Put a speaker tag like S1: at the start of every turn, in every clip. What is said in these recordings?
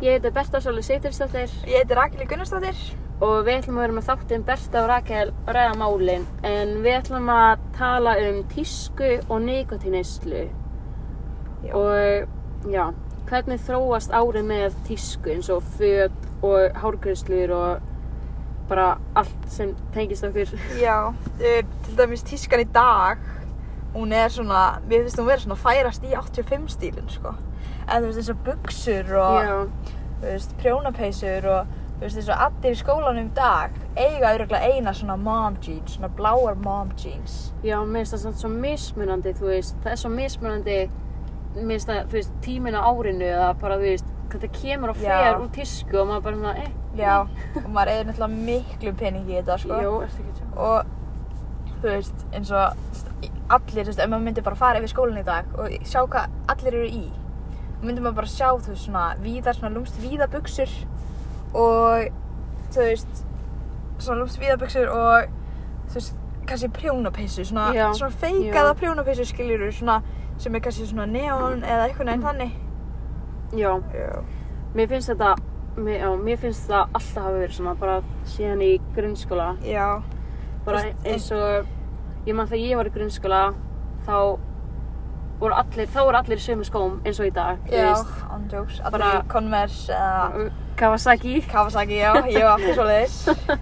S1: Ég heiti Berta Sólu Sigtursdóttir
S2: Ég heiti Rakel Gunnarsdóttir.
S1: og við ætlum að vera með þáttinn Berta og Rakel og ræða málin en við ætlum að tala um tísku og nikotineyslu
S2: Já.
S1: og já, hvernig þróast árið með tísku eins og föt og hárgreislur og bara allt sem tengist okkur
S2: Já, eh, til dæmis tískan í dag, hún er svona, mér finnst hún vera svona að færast í 85 stílinn, sko. En þú veist eins og buksur og,
S1: Já,
S2: þú veist, prjónapeysur og, þú veist eins og allir í skólanum í dag eiga öruglega eina svona mom jeans, svona bláar mom jeans.
S1: já, mér finnst það samt svo mismunandi, þú veist, það er svo mismunandi mér finnst það, þú veist, tíminn á árinu eða bara, þú veist, hvað það kemur og
S2: Já.
S1: fer úr tísku og maður bara svona, eh,
S2: Já, og maður eigið náttúrulega miklu peningi í þetta, sko.
S1: Jó, ertu ekki að sjá?
S2: og þú veist, eins og allir, þú veist, ef maður myndi bara fara yfir skólan í dag og sjá hvað allir eru í myndi maður bara sjá, þú veist, svona víðar, svona lúmst víðabuxur og þú veist svona lúmst víðabuxur og þú veist, kannski prjónapeysu svona,
S1: Já,
S2: svona feikaða
S1: já.
S2: prjónapeysu skiljur svona, sem er kannski svona neon eða eitthvað neginn þannig
S1: Mm. Já,
S2: Já,
S1: mér finnst þetta, mér, já, mér finnst það alltaf hafa verið svona bara síðan í grunnskóla.
S2: já,
S1: Bara
S2: Þú veist,
S1: eins og, ég mann þegar ég var í grunnskóla, þá voru allir, þá voru allir í sömu skóm eins og í dag, þú
S2: já
S1: veist.
S2: andjóks, allir
S1: Bara- Mm,
S2: í Converse eða
S1: Kawasaki.
S2: Kawasaki, já, ég var fyrir svoleiðis.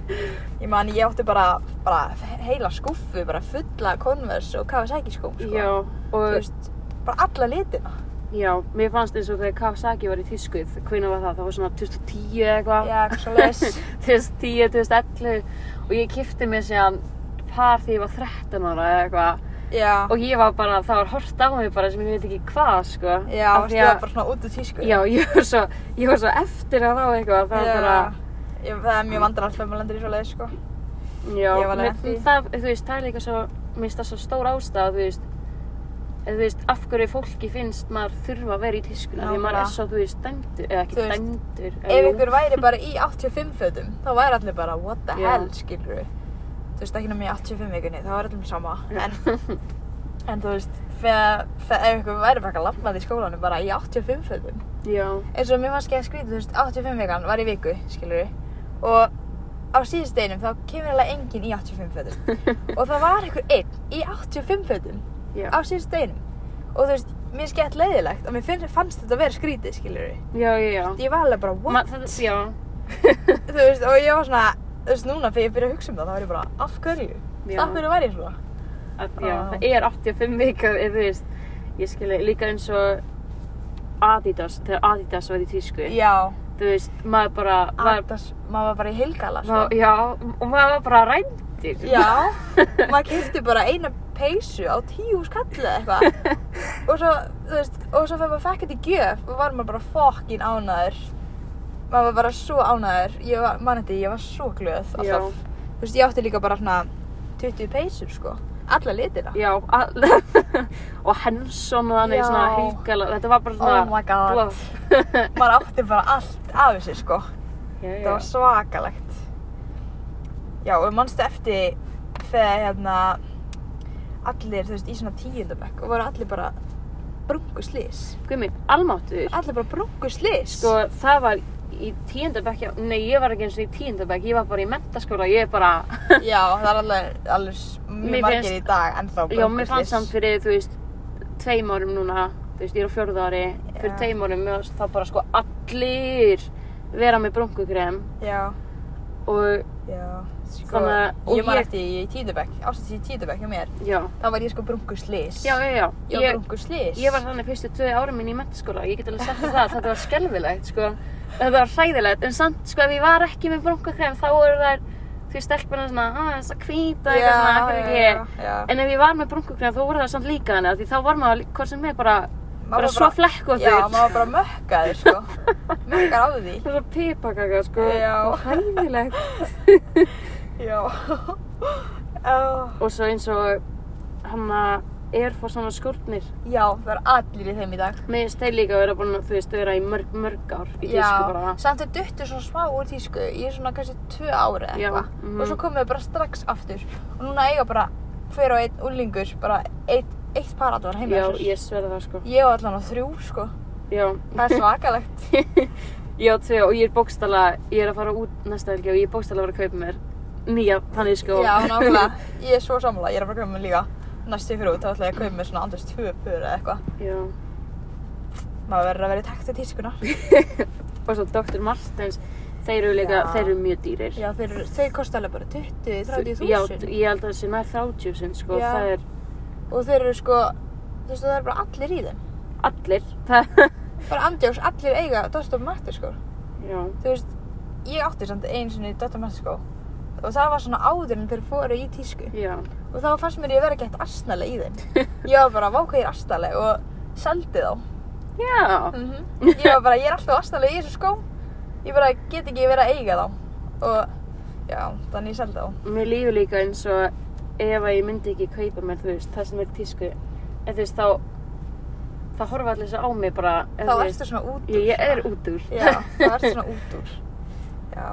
S2: Ég man, ég átti bara, bara heila skúffu, bara fulla Converse og Kawasaki skóm, sko.
S1: Já,
S2: Þú
S1: og
S2: veist, bara alla litina.
S1: já, mér fannst eins og þegar Kawasaki var í tískuð, hvenær var það? Það var svona 2010 eða eitthvað.
S2: Já, eitthvað svoleiðis.
S1: 2010, 2011 og ég kipti mér síðan par þegar ég var 13 ára eða eitthvað
S2: Já,
S1: Og ég var bara, það var hort á mig bara sem ég veit ekki hvað, sko.
S2: já,
S1: Af
S2: varstu
S1: því
S2: það
S1: að,
S2: bara svona út úr tísku.
S1: já, ég var svo, ég var svo eftir að þá eitthvað, það var bara,
S2: Ég, það er mjög vandræðalegt þegar maður lendir í svoleiðis, sko.
S1: já,
S2: Ég var
S1: mér-
S2: lenti.
S1: það, þú veist, það er líka svo, mér finnst það svo stór ástæða, þú veist, eða þú veist, af hverju fólki finnst maður þurfa að vera í tískuna, því maður
S2: Nákvæmlega.
S1: er svo, þú veist, dæmdur, eða ekki
S2: Þú veist,
S1: dæmdur,
S2: Ef ykkur væri bara í 85 fötum, þá væri allir bara, what the
S1: Já.
S2: hell, skilur við. Þú veist, ekki námið í 85 vikunni, þá væri allir sama. En, en þú veist, þegar, þegar ef ykkur væri bara eitthvað lappmað í skólanum, bara í 85 fötum,
S1: Já,
S2: eins og mér fannst ekki að skrýta, þú veist, 85 vegan var í viku, skilur við og á síðust einum þá kemur alveg enginn í 85 fötum og það var einhver einn í 85 fötum
S1: já,
S2: á síðust einum og þú veist, mér skemmt leiðilegt og mér finn, fannst þetta að vera skrítið, skilur við
S1: já, já, já.
S2: ég var alveg bara,
S1: Ma,
S2: what?
S1: það, já,
S2: þú veist, og ég var svona þú veist, núna þegar ég byrja að hugsa um það, þá var ég bara, af hverju?
S1: Já.
S2: af hverju var ég svona?
S1: að, já,
S2: Já.
S1: það er 85 vikur, eða þú veist, ég skilja líka eins og Adidas, þegar Adidas var í tísku.
S2: já,
S1: þú veist, maður bara var,
S2: Adidas, maður var bara í heilgala sko.
S1: maður, já, og maður var bara rændir
S2: Já, maður kefti bara eina peysu á tíu skallu eða eitthvað og svo, þú veist, og svo fyrir maður fekk þetta í gjöf og var maður bara fokkin ánæður maður var bara svo ánæður ég var, mann þetta, ég var svo glöð alltaf,
S1: Já.
S2: þú veist, ég átti líka bara svona 20 peysur, sko, alla litina
S1: já all, og Henson og þannig
S2: Já.
S1: svona helgala, þetta var bara svona
S2: Oh my god.
S1: blað.
S2: maður átti bara allt af þessu, sko
S1: já,
S2: það
S1: já.
S2: var svakalegt já, og mannstu eftir þegar hérna allir, þú veist, í svona tíundabökk og voru allir bara brunguslís
S1: Guðmi, almáttur
S2: allir bara brunguslís
S1: sko, það var í tíundabæk nei, ég var ekki eins og í tíundabæk ég var bara í mentaskóla, ég bara
S2: já, það er alveg, alveg s-
S1: Mér
S2: mjög margir
S1: finnst-
S2: í dag ennþá brunguslís
S1: já, mér fannst samt fyrir, þú veist tveim árum núna, þú veist, ég er á fjórða ári fyrir
S2: Já.
S1: tveim árum, mér fannst það bara sko allir vera með brunkukrem
S2: já,
S1: og,
S2: já, sko
S1: Þannig að- og
S2: ég man
S1: ég-
S2: eftir í tíundabökk, ástætti í tíundabökk hjá mér
S1: já,
S2: þá var ég sko brunguslís
S1: já, já, já
S2: ég var brunguslís
S1: Ég var þannig fyrstu tvö árum minn í mentaskóla, ég get alveg sagt þér það, þetta var skelfilegt, sko. Þetta var hræðilegt, en samt, sko, ef ég var ekki með brúnkakrem, þá eru þær, því stelpuna svona, "Ah, að þess að hvíta, eitthvað svona,
S2: já,
S1: akkur
S2: já,
S1: ekki.
S2: já, já.
S1: En ef ég var með brúnkakrem, þá voru það samt líka þannig, af því þá var maður, hvort sem er, bara,
S2: Maður
S1: bara,
S2: var
S1: svo flekkóttur.
S2: já, maður var bara mökkaður sko mökkar á því
S1: Svo pipakaka, sko.
S2: Já.
S1: Það var Hræðilegt.
S2: Já. Oh.
S1: Og svo eins og, hann að, er fór svona skórnir.
S2: Já, það er allir í þeim í dag.
S1: Mér finnst þeir líka að vera búin að, þú veist, vera í mörg, mörg ár í tísku bara.
S2: samt þau duttu svo smá úr tísku í svona kannski tvö ári eða
S1: Já,
S2: eitthvað.
S1: mhm.
S2: Og svo komum við bara strax aftur. Og núna eiga bara hver og einn úlingur, bara eitt, eitt par allar heima.
S1: Já,
S2: hjá sér.
S1: ég sverða það, sko.
S2: Ég var allan á þrjú, sko.
S1: Já.
S2: Það er svakalegt.
S1: ég á tvö og ég er bókstala, ég er að fara út næsta helgi og ég er bókstala að vera að kaupa mér nýja þannig sko. skó.
S2: Já, nákvæmlega. Ég er svo sammála, ég er að fara að kaupa mér líka. Næst ég fyrir út, þá ætla ég að kaupa mér svona andast tvö pör eða eitthvað.
S1: Já,
S2: Maður verður að vera í takt við tískuna.
S1: og svo Dr. Martens, þeir eru líka,
S2: Já.
S1: þeir eru mjög dýrir.
S2: Já, þeir, þeir kosta alveg bara 20, 30
S1: Já,
S2: þúsund.
S1: ég held að þessi nær 30 sinn, sko,
S2: Já.
S1: það er
S2: Og þeir eru sko, þú veist, það eru bara allir í þeim.
S1: allir, það,
S2: Bara andjóks, allir eiga Dr. Martens sko.
S1: já,
S2: Þú veist, ég átti samt einu sinni Dr. Martens sko. Og það var svona áður en þeir fóru í tísku.
S1: já,
S2: Og þá fannst mér ég vera gett astnaleg í þeim. Ég var bara, váka ég er astnaleg og seldi þá.
S1: já,
S2: Mhm. Ég var bara, ég er alltaf astalega í þessu skóm Ég bara get ekki verið að eiga þá Og já, þannig ég seldi þá
S1: mér lífur líka eins og ef að ég myndi ekki kaupa mér, þú veist, það sem er í tísku, en þú veist, þá, það horfa allir þessu á mig bara, en
S2: Þá
S1: þú veist,
S2: ertu svona út úr
S1: ég, ég er út úr.
S2: Já, þá ertu svona út úr Já,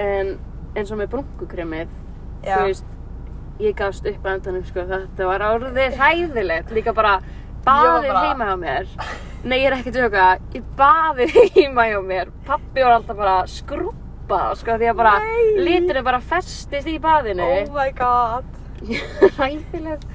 S1: en eins og með brúnkukremið
S2: já,
S1: þú veist, ég gafst upp að endanum sko, þetta var orðið hræðilegt líka bara baðið
S2: Ég var bara-
S1: heima hjá mér nei ég er ekki tjóka, ég baðið heima hjá mér pappi var alltaf bara skrúpa sko, því að bara
S2: Nei.
S1: liturinn bara festist í baðinu
S2: oh my god
S1: hræðilegt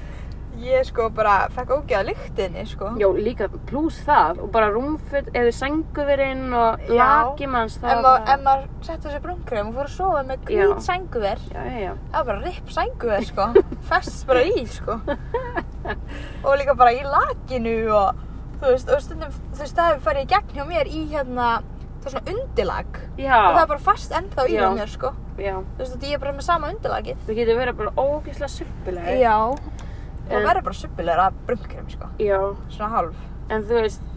S2: Ég sko bara fekk ógeða lyktinni sko
S1: já líka pluss það og bara rúmfull eða sængurinn og
S2: Já.
S1: lakimanns
S2: En
S1: það
S2: ma-
S1: var
S2: en maður setti sér brúnkrem og fór að sofa með
S1: Já.
S2: hvít sænguver
S1: já, já, já.
S2: Það var bara ripp sænguver sko Festst bara í sko Og líka bara í lakinu og Þú veist, og stundum, þú veist, það hefur farið í gegn hjá mér í hérna, það er svona undilag. og það
S1: Já,
S2: er bara fast ennþá í
S1: Já.
S2: það mér sko
S1: já,
S2: þú veist þetta ég er bara með sama undirlagið
S1: þú getur verið bara ógeðslega suppileg
S2: já
S1: En-
S2: það verður bara suppilegur að brunkrem sko
S1: já.
S2: svona hálf
S1: En þú veist,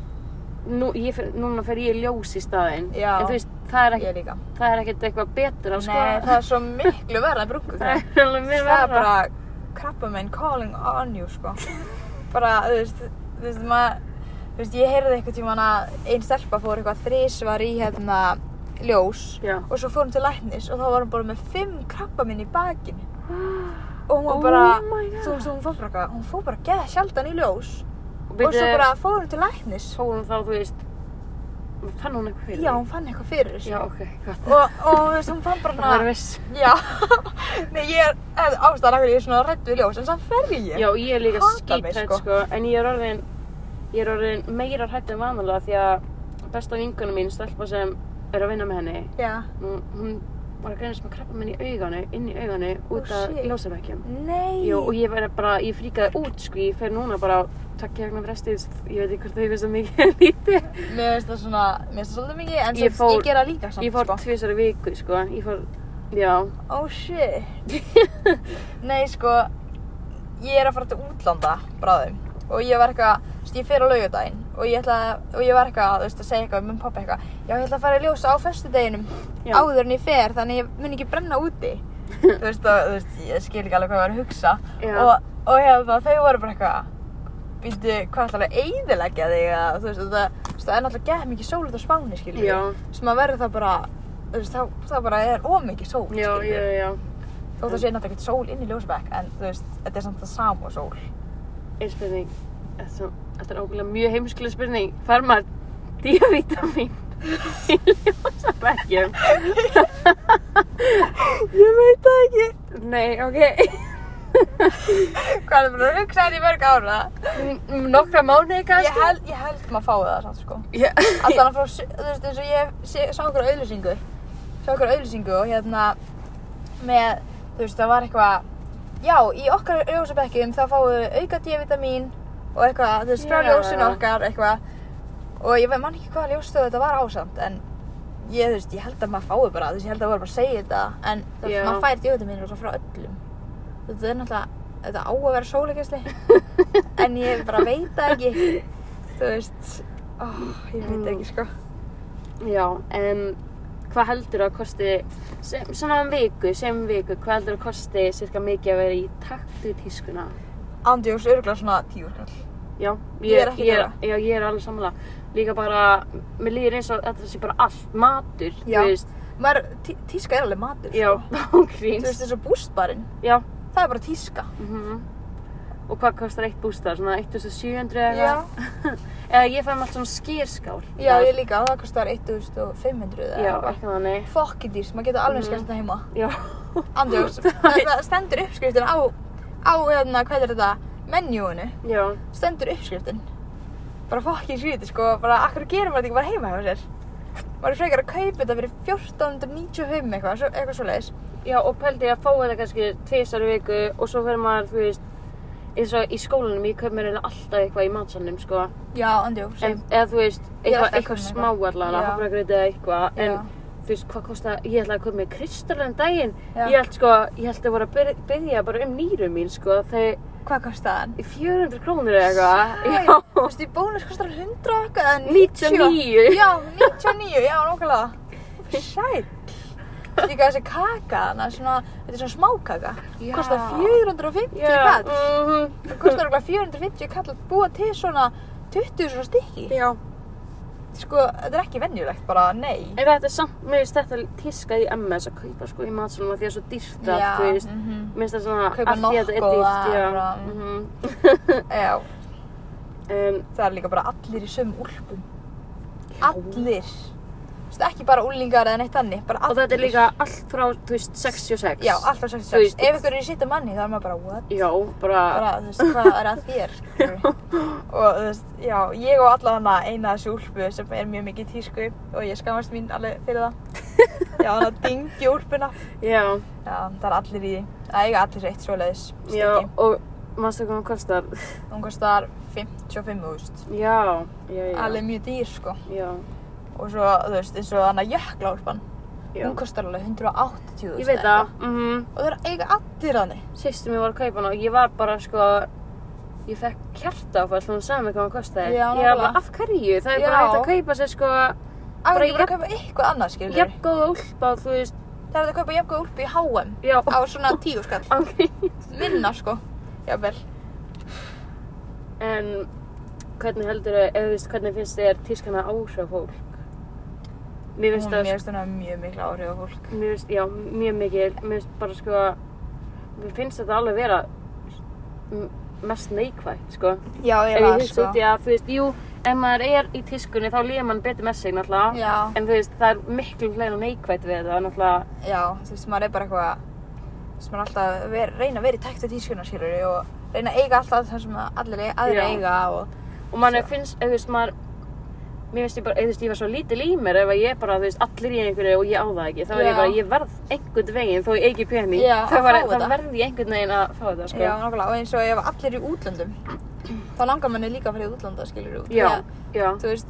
S1: nú, ég fer, núna fer ég í ljós í staðinn.
S2: Já.
S1: En þú veist, það er
S2: ég
S1: ekkert,
S2: líka
S1: það er ekkert eitthvað betra, sko.
S2: nei það er svo miklu verða að
S1: það
S2: brunkrem
S1: er alveg mér
S2: það er
S1: verra.
S2: bara krabba menn calling on you sko bara þú veist þú veist maður þú veist ég heyrði eitthvað tíma að ein stelpa fór eitthvað þrísvar í hérna ljós
S1: Já.
S2: og svo fór hún til læknis og þá var hún bara með fimm krabba minn í bakinu og hún
S1: Oh
S2: var bara
S1: my god.
S2: þú veist hún fór bara hún fór bara geða sjaldan í ljós
S1: Og
S2: og svo
S1: byrju,
S2: bara fór hún til læknis
S1: fór hún þá, þú veist, fann hún eitthvað fyrir
S2: já,
S1: því?
S2: hún fann eitthvað fyrir þessu
S1: Já, ok, hvað?
S2: og, og þú veist, hún fann bara
S1: Það er
S2: svona
S1: viss.
S2: já, nei, ég er ástæðan af hverju ég er svona rætt við ljós en samt fer ég
S1: Já, ég er líka
S2: Hata mig,
S1: skíthætt,
S2: sko.
S1: sko. En ég er orðin, ég er orðin meira hrætt en vanalega því að besta vingunum mín, stelpa sem er að vinna með henni,
S2: já.
S1: nú, hún var að greinast með krabba minn í auganu, inn í auganu, út
S2: Oh,
S1: af
S2: shit.
S1: ljósabækjum.
S2: nei
S1: Jú, og ég verði bara, ég fríkaði út, sko, ég fer núna bara takkja vegna frestið, ég veit ekki hvort þau finnst það mikið eða lítið.
S2: mér finnst það svona mér finnst það svolítið mikið en
S1: Ég
S2: ég,
S1: fór-
S2: ég gera líka samt
S1: Ég fór
S2: sko.
S1: tvisar í viku, sko, ég fór, já,
S2: oh shit nei sko ég er að fara til útlanda bráðum og ég var eitthvað þú veist, ég fer á laugardaginn og ég ætla og ég var eitthvað þú veist að segja eitthvað við minn pappa eitthvað já ég ætla að fara í ljósa á föstudeginum
S1: já.
S2: áður en ég fer þannig ég mun ekki brenna úti þú veist og þú veist ég skil ekki alveg hvað ég var að hugsa
S1: Já.
S2: og, og hérna þau voru bara eitthvað býttu hvað ætlar að eyðileggja þig eða þú veist og það, þú veist, það er náttúrulega gett mikið sól út á Spáni skilur
S1: Já,
S2: sem að verður það bara þú veist þá, það bara er ómikið sól
S1: já,
S2: skilur
S1: já, já.
S2: þó það sé náttúrulega ekkert sól inn í ljósbæk en þú veist þetta er samt það sama sól
S1: Einn spurning, þetta er- þetta er ógulega mjög heimskulega spurning, fær maður D-vitamin í ljósabækjum?
S2: ég veit það ekki
S1: Nei, ok,
S2: hvað er það bara að hugsa þetta í mörg ára Mm,
S1: M- nokkra mánuði kannski?
S2: ég held, ég held maður fái það samt sko
S1: Já.
S2: Alltaf frá, su- þú veist, eins og ég sé, sá okkur auðlýsingu Sá okkur auðlýsingu og hérna Með, þú veist, það var eitthvað Já, í okkar ljósabekkjum þá fáum við auka D-vitamin Og eitthvað, þú veist, frá
S1: Já.
S2: ljósinu okkar, eitthvað Og ég veit, man ekki hvað ljósstöð þetta var ásamt En ég, þú veist, ég held að maður fái bara Þú veist, ég held að maður bara segja þetta En þú veist,
S1: Já.
S2: maður fær D-vitamin og svo frá öllum Þú veist, Þetta er náttúrulega, þetta á að vera sóleikisli En ég bara veit það ekki Þú veist, oh, ég veit ekki sko
S1: Já, en hvað heldur að kosti, sem, svona um viku, sem viku, hvað heldur að kosti cirka mikið að vera í takt við tískuna?
S2: Andjós örgulega svona tíur kall
S1: Já,
S2: Ég er ekki
S1: ég er,
S2: að
S1: já, ég er alveg samanlega. Líka bara, mér líður eins og þetta sé bara allt, matur,
S2: Já.
S1: þú veist.
S2: Maður, tí, tíska er alveg matur
S1: Já,
S2: sko.
S1: ágríns.
S2: Þú veist eins og bústbarinn
S1: Já,
S2: Það er bara tíska
S1: mhm,
S2: Og
S1: og hvað kostar eitt bústa, svona 1700 eða
S2: Já,
S1: eitthvað. Eða ég fæ mér allt svona skýrskál.
S2: já, ég líka, það kostar 1500 eða
S1: Já,
S2: eitthvað.
S1: eitthvað þannig.
S2: Fokki dýrt, maður getur alveg
S1: Mhm.
S2: skemmt þetta heima.
S1: Já.
S2: Andjóks, það það stendur uppskriftin á, á, hérna, hvað er þetta, menjúinu,
S1: Já.
S2: stendur uppskriftin. Bara fokkin skrítið, sko, bara, akkur gerir maður þetta ekki bara heima hjá sér? Maður er frekar að kaupa þetta fyrir 1495 eitthvað, svo, eitthvað svoleiðis.
S1: Já, og pældi ég að fá þetta kannski tvisar í viku og svo fyrir maður, þú veist, eins og í skólanum, ég kaup mér eiginlega alltaf eitthvað í matsalnum, sko.
S2: Já, andjóks.
S1: En, eða þú veist,
S2: ætla
S1: eitthvað,
S2: að
S1: eitthvað
S2: kaupa mér
S1: smá allavega,
S2: Já.
S1: hafragröð eða eitthvað, en
S2: Já.
S1: þú veist, hvað kosta, ég ætlaði að koma með kristallan daginn,
S2: Já.
S1: ég held sko, ég held að voru að byr- byðja bara um nýru mín, sko, þegar
S2: Hvað kostar hann?
S1: 400 krónur eða eitthvað,
S2: Þú
S1: já,
S2: veist, í bónus kostar hann 100 eitthvað eða
S1: 99.
S2: Já, 99, já, nákvæmlega. Sæll. Líka þessi kaka þannig, svona, þetta er svona smákaka.
S1: Já.
S2: Kostar 450
S1: já,
S2: kall.
S1: mhm,
S2: Það kostar okkur 450 kall að búa til svona 20 svona stykki.
S1: já,
S2: Sko, þetta er ekki venjulegt, bara nei.
S1: en þetta er samt, mér finnst þetta tískað í MS að kaupa, sko, í matsalum að því að það er svo dýrt allt, þú veist,
S2: mhm.
S1: mér finnst það svona,
S2: Kaupa
S1: af því að þetta er
S2: Nocco
S1: dýrt, já,
S2: bara,
S1: mhm,
S2: Já,
S1: um,
S2: það er líka bara allir í sömu úlpum. Allir. Þú veist, ekki bara úlingar eða neitt þannig, bara
S1: og
S2: allir.
S1: þetta er líka allt frá, þú veist, 66,
S2: Já, alltaf sagt
S1: Þú
S2: strax.
S1: veist-
S2: Ef ykkur er í sitt manni þá er maður bara, what?
S1: já, bara,
S2: Bara, þú veist, hvað er að þér? skilurðu? og þú veist, já, ég og alla hana eina þessu úlpu sem er mjög mikið í tísku og ég skamast mín alveg fyrir það. Já, hana dingi úlpuna.
S1: já,
S2: Já, það er allir í því. Það eiga allir eitt svoleiðis.
S1: Já,
S2: stykki.
S1: og mannstu hvað hann kostar?
S2: Hún kostar 55 úrst.
S1: Já, já, já.
S2: Alveg mjög dýr, sko.
S1: Já,
S2: Og svo, þú veist, eins og hana jökla úlpan.
S1: já.
S2: Hún kostar alveg 180 úrst.
S1: Ég veit það, mhm.
S2: Og það er eiga allir hannig.
S1: Sýstum ég var að kaupa hann og ég var bara sko, ég fekk kjarta áfall, hún sagði mig hvað hann kostaði.
S2: Já,
S1: Ég var bara,
S2: nákvæmlega.
S1: af hverju? Það er bara
S2: Já.
S1: hægt að kaupa sér sko,
S2: Akkur
S1: Bara
S2: ekki bara
S1: jafn-
S2: að kaupa eitthvað annað, skilur
S1: jafn góða úlpa og þú veist,
S2: Það er hægt að kaupa jafngóð úlpi í H&M
S1: já,
S2: á svona tíu skall.
S1: ángrín.
S2: Minna sko. Jafnvel.
S1: En hvernig heldur þau, eða þú veist, hvernig finnst þér tískana áhrif á fólk? Mér finnst
S2: Hún
S1: það,
S2: mér finnst hún að mjög mikla áhrif á fólk.
S1: mér finnst, já, mjög mikil, mér finnst bara sko, mér finnst þetta alveg vera m- mest neikvægt, sko.
S2: Já, sko.
S1: Ef ég hugsa út í að, þú veist, jú, ef maður er í tískunni þá líður mann betur með sig náttúrulega.
S2: Já,
S1: En þú veist, það er miklu fleira neikvætt við þetta, náttúrulega.
S2: já, þú veist, maður er bara eitthvað, þú veist, maður er alltaf að vera, reyna að vera í takt við tískuna, skilur og reyna að eiga alltaf það sem allir eiga- aðrir
S1: Já.
S2: eiga og,
S1: Og mann
S2: Svo.
S1: finnst, eða þú veist, maður, mér finnst ég bara, eða þú veist, ég var svo lítil í mér ef að ég bara, þú veist, allir í einhverju og ég á það ekki. Þá er
S2: Já.
S1: ég bara, ég verð einhvern veginn, þó ég eigi pening.
S2: Já,
S1: þá
S2: að
S1: var,
S2: fá
S1: þá
S2: þetta.
S1: verð ég einhvern veginn að fá þetta, sko.
S2: já, nákvæmlega, og eins og ef allir eru í útlöndum, þá langar manni líka að fara í útlanda, skilur út.
S1: já.
S2: af því
S1: já.
S2: að, Þú veist,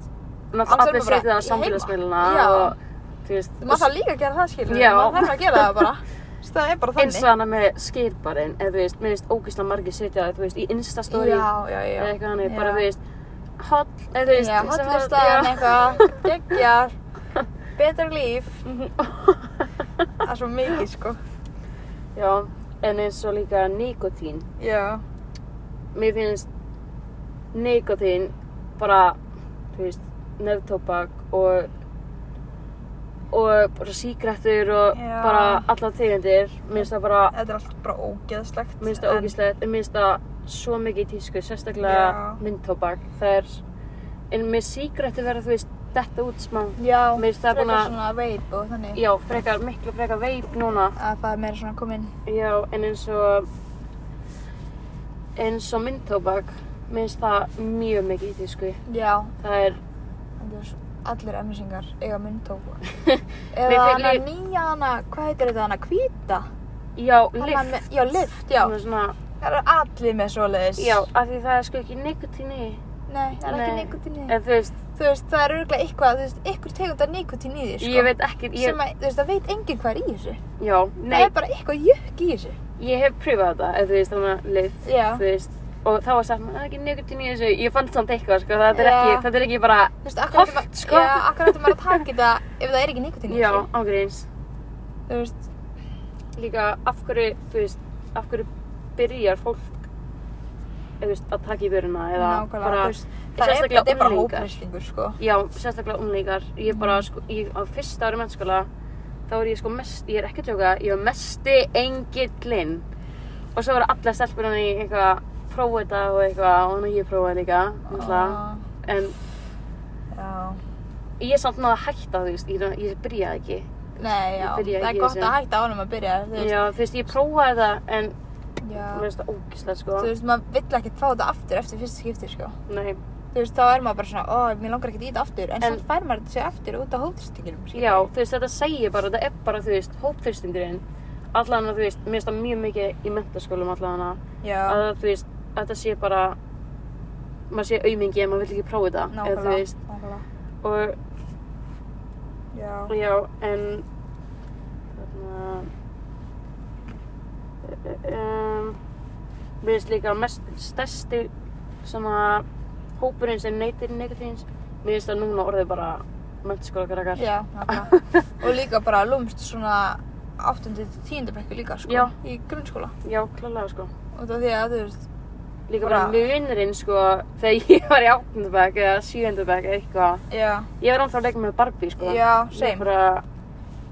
S1: Náttúrulega
S2: annars er
S1: allir
S2: maður bara
S1: setja það á
S2: heima.
S1: samfélagsmiðluna
S2: Já.
S1: og, þú veist,
S2: maður þarf líka að gera það, skilur
S1: Já.
S2: maður þarf að gera það bara. Þú veist, það er bara
S1: eins
S2: þannig.
S1: og hana með skýrbarinn, eða þú veist, mér finnst ógislega margir setja það, þú veist, í Insta-stóri.
S2: Já, já, já.
S1: eða eitthvað hannig,
S2: Já.
S1: bara þú veist holl, eða þú veist
S2: Já,
S1: þessi holl-
S2: hotlistan
S1: já.
S2: eitthvað, geggjar, betra líf, það er svo mikið sko.
S1: já, en eins og líka nikotín
S2: Já,
S1: mér finnst nikotín bara, þú veist neftóbak og og bara síkrettur og
S2: Já.
S1: bara alla tegundir mér finnst það bara,
S2: þetta er allt bara ógeðslegt.
S1: mér finnst það ógíslegt mér finnst það svo mikið í tísku sérstaklega
S2: Já.
S1: myndtóbak það er, en með síkrettur verða þú veist detta út smá
S2: Já,
S1: Mér finnst það
S2: frekar
S1: búin að-
S2: svona veip og þannig
S1: já, frekar, miklu frekar veip núna
S2: að það er meira svona komin.
S1: Já, en eins og eins og myndtóbak minnst það mjög mikið í því sko
S2: Já,
S1: það er,
S2: þetta er svo, allir emmisingar eiga myndtóku.
S1: Mér
S2: Eða
S1: finnst
S2: hana
S1: lí-
S2: nýja hana, hvað heitir þetta hana, hvíta?
S1: já,
S2: Hana
S1: lyft
S2: með- Já, lift, já.
S1: Hún er svona,
S2: Það eru allir með svoleiðis.
S1: já, af því það er sko ekki nikotín í
S2: Nei, það er ekki
S1: Nei.
S2: nikotinni.
S1: en þú veist,
S2: Þú veist, það er örgulega eitthvað, þú veist, ykkur tegund af nikotinni í því sko.
S1: ég veit ekki ég,
S2: sem að, þú veist, það veit enginn hvað er í þessu.
S1: já,
S2: Það
S1: nei,
S2: er bara eitthvað jökk í þessu.
S1: ég hef pröfað þetta eða þú veist, þannig að lyft,
S2: Já.
S1: þú veist og þá var sagt, "Nei, það er ekki nikotín í þessu ég fann samt eitthvað, sko, þetta er
S2: Já.
S1: ekki þetta er ekki bara,
S2: Þú veist, akkur
S1: Kort,
S2: ætti maður,
S1: sko.
S2: já, akkur ætti maður að taka þetta ef það er ekki nikotín í
S1: já,
S2: þessu.
S1: ágríns
S2: Þú veist,
S1: líka, af hverju, þú veist af hverju byrjar fólk eða þú veist, að taka í vöruna eða
S2: nákvæmlega,
S1: bara,
S2: þú veist, það er,
S1: sérstaklega
S2: þetta er bara
S1: unglingar.
S2: hópræstingur, sko.
S1: Já, sérstaklega umleikar. Ég bara, sko, ég, á fyrsta ári mennskóla, þá er ég sko mest, ég er ekki að tjóka, ég var mesti engillinn. Og svo voru allar stelpurinn í eitthvað prófa þetta og eitthvað og hann og ég prófaði líka náttúrulega.
S2: Ah,
S1: en
S2: Já.
S1: ég samt náði að hætta þú veist, ég, ég byrjaði ekki
S2: Nei, já.
S1: Ég byrja
S2: Það er
S1: ekki í
S2: gott
S1: þessu.
S2: að hætta ánum að byrja, þú veist.
S1: já, þú veist, ég prófaði það en
S2: Já.
S1: mér finnst það ógislega sko
S2: Þú veist, maður vill ekkert fá þetta aftur eftir fyrsta skipti, sko.
S1: Nei.
S2: Þú veist, þá er maður bara svona, ó, mér langar ekkert í þetta aftur. En,
S1: En-
S2: samt fær maður þetta sér aftur út á hóttistinginum,
S1: já, þú veist, þetta segir bara, þetta er bara þú veist, hópþyrstingurinn allan að þú veist, mér finnst það mjög mikið í mentaskólum allan að
S2: Já.
S1: að þú veist, að þetta sé bara maður sé aumingi en maður vill ekki prófa þetta eða þú
S2: Nákvæmlega.
S1: veist,
S2: Nákvæmlega.
S1: og
S2: Já.
S1: Já, en hérna, þarna e, um, mér finnst líka mest stærsti svona hópurinn sem neytir negatífins mér finnst það núna orðið bara mentaskóla krakkar
S2: Já, nákvæmlega. og líka bara lúmst svona 8. til 10. bekku líka, sko,
S1: Já.
S2: í grunnskóla.
S1: Já, klálega sko
S2: Og það því að, þú veist,
S1: Líka
S2: Bara-
S1: bara munurinn sko þegar ég var í 8. bekk eða 7. bekk eða eitthvað
S2: já,
S1: Ég var ánþá að leika með Barbie sko
S2: Já,
S1: Ég
S2: same.
S1: bara,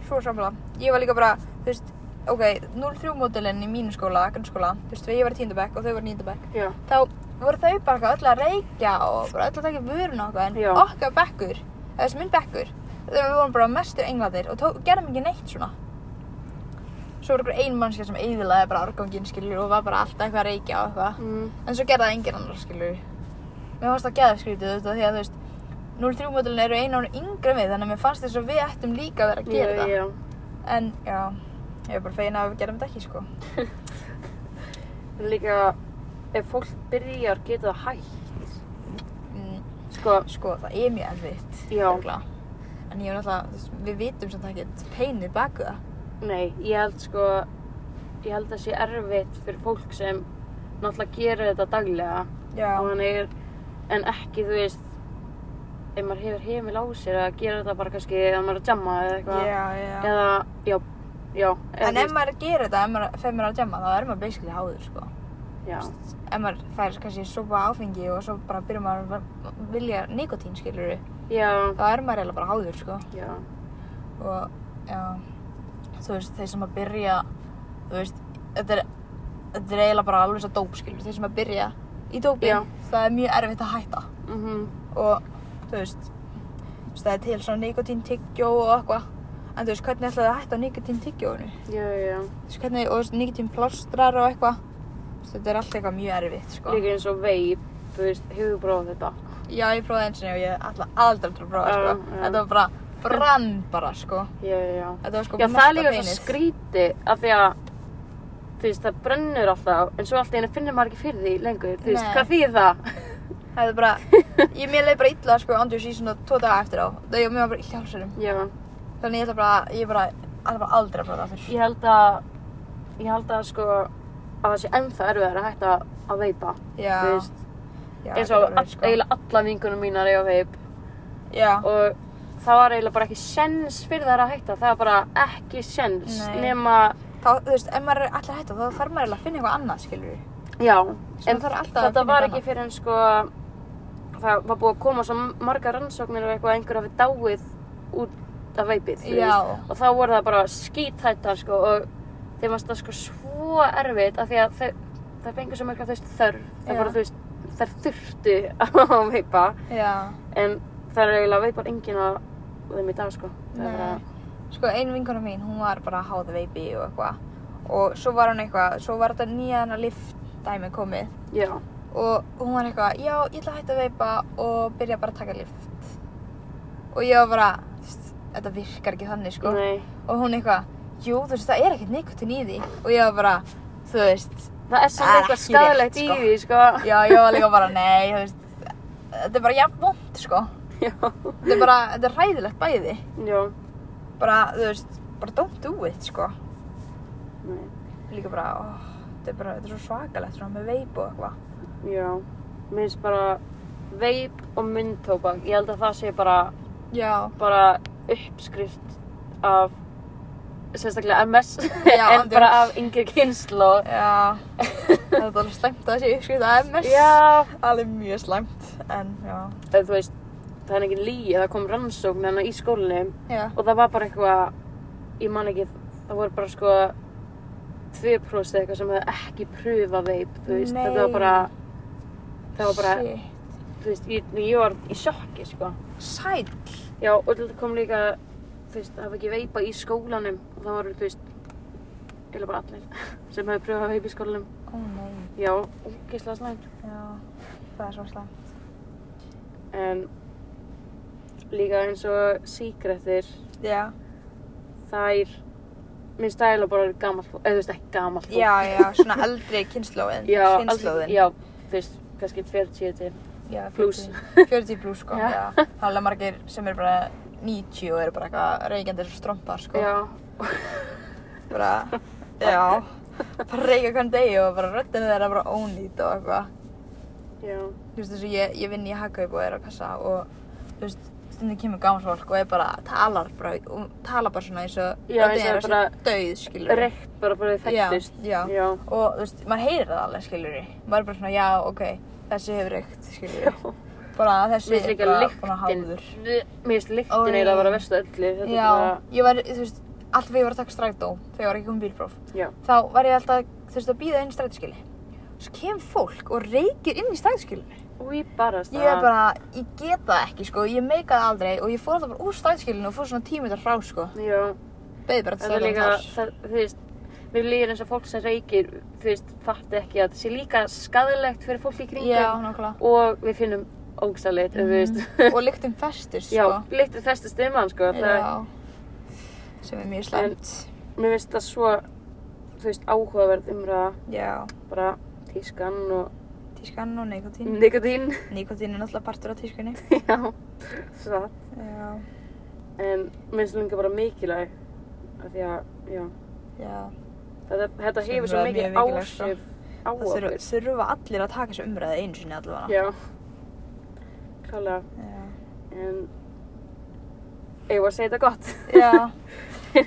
S2: svo samla. Ég var líka bara, þú veist, ok, 0-3 mótilinn í mínu skóla, grunnskóla, þú veist, þegar ég var í 10. bekk og þau var í 9. bekk,
S1: já,
S2: þá voru þau bara eitthvað öll að reykja og bara öll að taka vörun og okkar, en
S1: Já.
S2: okkar bekkur, eða þessi minn bekkur, þegar við vorum bara mestur engladir og tó, gerðum ekki neitt svona. Svo var einhver ein mannskja sem eyðilaði bara árganginn, skilur, og var bara alltaf eitthvað að reykja og eitthvað.
S1: mm,
S2: En svo gerði það enginn annar, skilur Mér fannst það geðaskrítið, þú veist, af því að þú veist 0-3 mótilin eru einu ári yngri en við Þannig að mér fannst þess að við ættum líka að vera að gera
S1: já,
S2: það
S1: já.
S2: En, já, ég er bara fegin að við gerum þetta ekki, sko
S1: Líka ef fólk byrjar getur það hægt
S2: mm,
S1: sko
S2: Sko, það er mjög erfitt
S1: Já.
S2: örugglega. En ég er náttúrulega, þú veist, við vitum sem það ekki peinir baku það
S1: Nei, ég held sko ég held að sé erfitt fyrir fólk sem náttúrulega gerir þetta daglega og
S2: Já,
S1: þannig er, en ekki þú veist ef maður hefur heimil á sér að gera þetta bara kannski ef maður er að jamma eða eitthvað
S2: já, já
S1: eða, já, já eða,
S2: En ef maður er að gera þetta, ef maður fer maður að jamma, þá er maður basically háður, sko
S1: já,
S2: Ef maður fær kannski sopa áfengi og svo bara byrjar maður að vilja nikotín, skilur
S1: já,
S2: þá er maður eiginlega bara háður, sko
S1: já,
S2: og já, þú veist, þeir sem að byrja þú veist, þetta er þetta er eiginlega bara alveg svo dóp, skilur þeir sem að byrja í dópi,
S1: Já.
S2: það er mjög erfitt að hætta
S1: mhm,
S2: og þú veist, þú veist, það er til svona nikotín tyggjó og eitthvað en þú veist, hvernig ætlaði að hætta á nikotín tyggjóinu
S1: já, já, já
S2: þú veist, hvernig, og þú veist, nikotín plástrar og eitthvað Þú veist, þetta er alltaf eitthvað mjög erfitt, sko
S1: líka eins og veip, þú veist, hefur prófað þetta
S2: já, ég prófaði eins og ég ætla aldrei að prófa,
S1: Já,
S2: sko
S1: já.
S2: þetta var bara brann bara, sko
S1: já, já, já
S2: þetta var sko
S1: Já, það
S2: mesta
S1: er líka svo
S2: beinið.
S1: skríti af því að þú veist, það brennur alltaf en svo alltaf einu finnir maður ekki fyrir því lengur þú veist,
S2: Nei.
S1: hvað þýðir það?
S2: Það er bara, ég mér leið bara illa sko Andrews í svona tvo daga eftir á Það ég mér var bara illa hálsarum
S1: Já,
S2: Þannig ég ætla bara, ég bara, ætla bara aldrei að prófa það aftur
S1: ég held að ég held að sko að það sé ennþá erfiðar að hætta að veipa
S2: Já,
S1: þú veist,
S2: já
S1: eins
S2: þetta
S1: og
S2: er
S1: all,
S2: alveg, sko.
S1: eiginlega alla vingunum mínar eiga veip
S2: Já,
S1: og það var eiginlega bara ekki sens fyrir þær að hætta það var bara ekki sens
S2: Nei.
S1: nema,
S2: þá, þú veist, ef maður er alltaf hægt þá þarf maður eiginlega að finna eitthvað annað, skilur við
S1: já
S2: Svo
S1: en
S2: þarf alltaf að
S1: þetta
S2: finna
S1: var
S2: eitthvað
S1: ekki fyrir en sko það var búið að koma svo margar rannsóknir og eitthvað að einhver hafi dáið út af veipið þú
S2: Já.
S1: veist. og þá voru það bara skíthættar sko og þeim varst það sko svo erfitt af því að þau, þau fengur svo mikla þú veist þörf það
S2: Já.
S1: bara þú veist þær þurftu að veipa
S2: Já,
S1: en það er eiginlega veipar enginn að þeim í dag sko það er bara
S2: nei Sko, ein vinkona mín, hún var bara háð veipi og eitthvað Og svo var hún eitthvað, svo var þetta nýjana lift dæmi komið
S1: já,
S2: og hún var eitthvað, já, ég ætla að hætta að veipa og byrja bara að taka lift og ég var bara, þú veist, þetta virkar ekki þannig, sko
S1: nei
S2: og hún eitthvað, jú, þú veist, það er ekkert nikotin í því og ég var bara, þú veist
S1: það er svo
S2: Það er
S1: mikla
S2: ekki rétt,
S1: skadalegt í
S2: sko.
S1: því sko
S2: já, ég var líka bara, nei, þú veist þetta er bara jafn vond, sko
S1: já,
S2: þetta er bara, þetta er hræðilegt bæði
S1: já.
S2: bara, þú veist, bara don't do it, sko
S1: Nei.
S2: líka bara, ó, þetta er bara, þetta er svo svakalegt svona með veip og eitthvað
S1: Já, mér finnst bara veip og myndtóbak, ég held að það sé bara,
S2: já,
S1: bara uppskrift af sérstaklega MS
S2: Já,
S1: en bara
S2: andjóks.
S1: af yngri kynslu
S2: já þetta er alveg slæmt að það sé uppskrift að MS
S1: Já,
S2: alveg mjög slæmt, en já
S1: en þú veist, það er engin líi, það kom rannsókn hérna í skólinni
S2: Já,
S1: og það var bara eitthvað, ég man ekki, það voru bara sko 2% eða eitthvað sem hefði ekki pröfa veip, þú veist,
S2: Nei.
S1: þetta var bara, það var bara,
S2: Shit.
S1: þú veist, ég, ég var í sjokki, sko.
S2: Sæll.
S1: Já, og þetta kom líka, þú veist, hafa ekki veipa í skólanum og það voru, þú veist, eða bara allir sem hefði pröfað veip í skólanum.
S2: Ó nei.
S1: Já, ógeðslega slæmt.
S2: Já, það er svo slæmt.
S1: En líka eins og síkrettir,
S2: Já.
S1: þær, minn stæla bara gamalt fólk, eða þú veist, ekki gamalt fólk.
S2: Já, já, svona eldri kynnslóðin.
S1: já, alls-
S2: kynnslóðin.
S1: já, þú veist, kannski 40 til.
S2: já
S1: plús.
S2: 40 40 pluss, sko.
S1: Já.
S2: Já. Það er alveg margir sem eru bara 90 og eru bara eitthvað reykjandi eins og strompa, sko.
S1: Já,
S2: Bara, já. Bara reykja hvern degi og bara röddinu þeirra bara ónýtt og eitthvað.
S1: já,
S2: Þú veist, þessu ég, ég vinn í Hagkaup og er á kassa og, þú veist, stundum kemur gamalt fólk og er bara, talar bara, og talar bara svona eins og
S1: Já, eins og
S2: þeirra sé
S1: bara
S2: dauð, skilur.
S1: reykt bara bara þau fættist.
S2: Já, já.
S1: já.
S2: og þú veist, maður heyrir það alveg, skilur við. Maður er bara svona, já, ok, þessi hefur reykt, skilur við. Bara þessi
S1: Mér finnst líka
S2: bara búin að
S1: lyktin,
S2: háður.
S1: mér finnst
S2: Oj.
S1: lyktin eða að vera verstu öllu, þetta
S2: Já,
S1: er bara,
S2: ég var, þú veist, alltaf þegar ég var að taka strætó, þegar ég var ekki komið bílpróf,
S1: já,
S2: þá var ég alltaf, þú veist, að býða inn í strætóskili. Svo kem fólk og reykir inn í strætóskilinu.
S1: og ég barast
S2: Ég er bara, ég get það ekki, sko, ég meika það aldrei og ég fór alltaf bara úr strætóskilinu og fór svona tímitar frá, sko.
S1: já,
S2: Beði bara til
S1: það er líka,
S2: strætóskilinu þar.
S1: það, þú veist, mér líður eins og fólk sem reykir, þú veist, fatti ekki að það sé líka skadalegt fyrir fólk í kringum
S2: Já, nákvæmlega.
S1: og við finnum ógstalit, mm. þú veist,
S2: og lyktum festist,
S1: já,
S2: sko.
S1: lyktin festist um hann, sko, það,
S2: Já, sem er mjög slæmt.
S1: mér finnst það svo, þú veist, áhugaverð umræða,
S2: Já,
S1: bara tískan og
S2: tískan og
S1: Mm.
S2: nikotín.
S1: nikotín,
S2: Nikotín er náttúrulega partur af tískunni.
S1: já, satt.
S2: Já,
S1: en minnst líka bara mikilvæg af því að, já,
S2: já.
S1: þetta, þetta
S2: Sem
S1: hefur svo
S2: var mjög
S1: mikið
S2: mikilvæg,
S1: áhrif
S2: sko.
S1: á
S2: Það
S1: okkur.
S2: þurfa, þurfa allir að taka þessu umræði einu sinni allavega.
S1: Já, klálega,
S2: Já.
S1: en ég var að segja þetta gott.
S2: Já.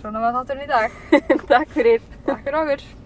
S2: Svona var þátturinn í dag.
S1: Takk fyrir.
S2: Takk fyrir okkur.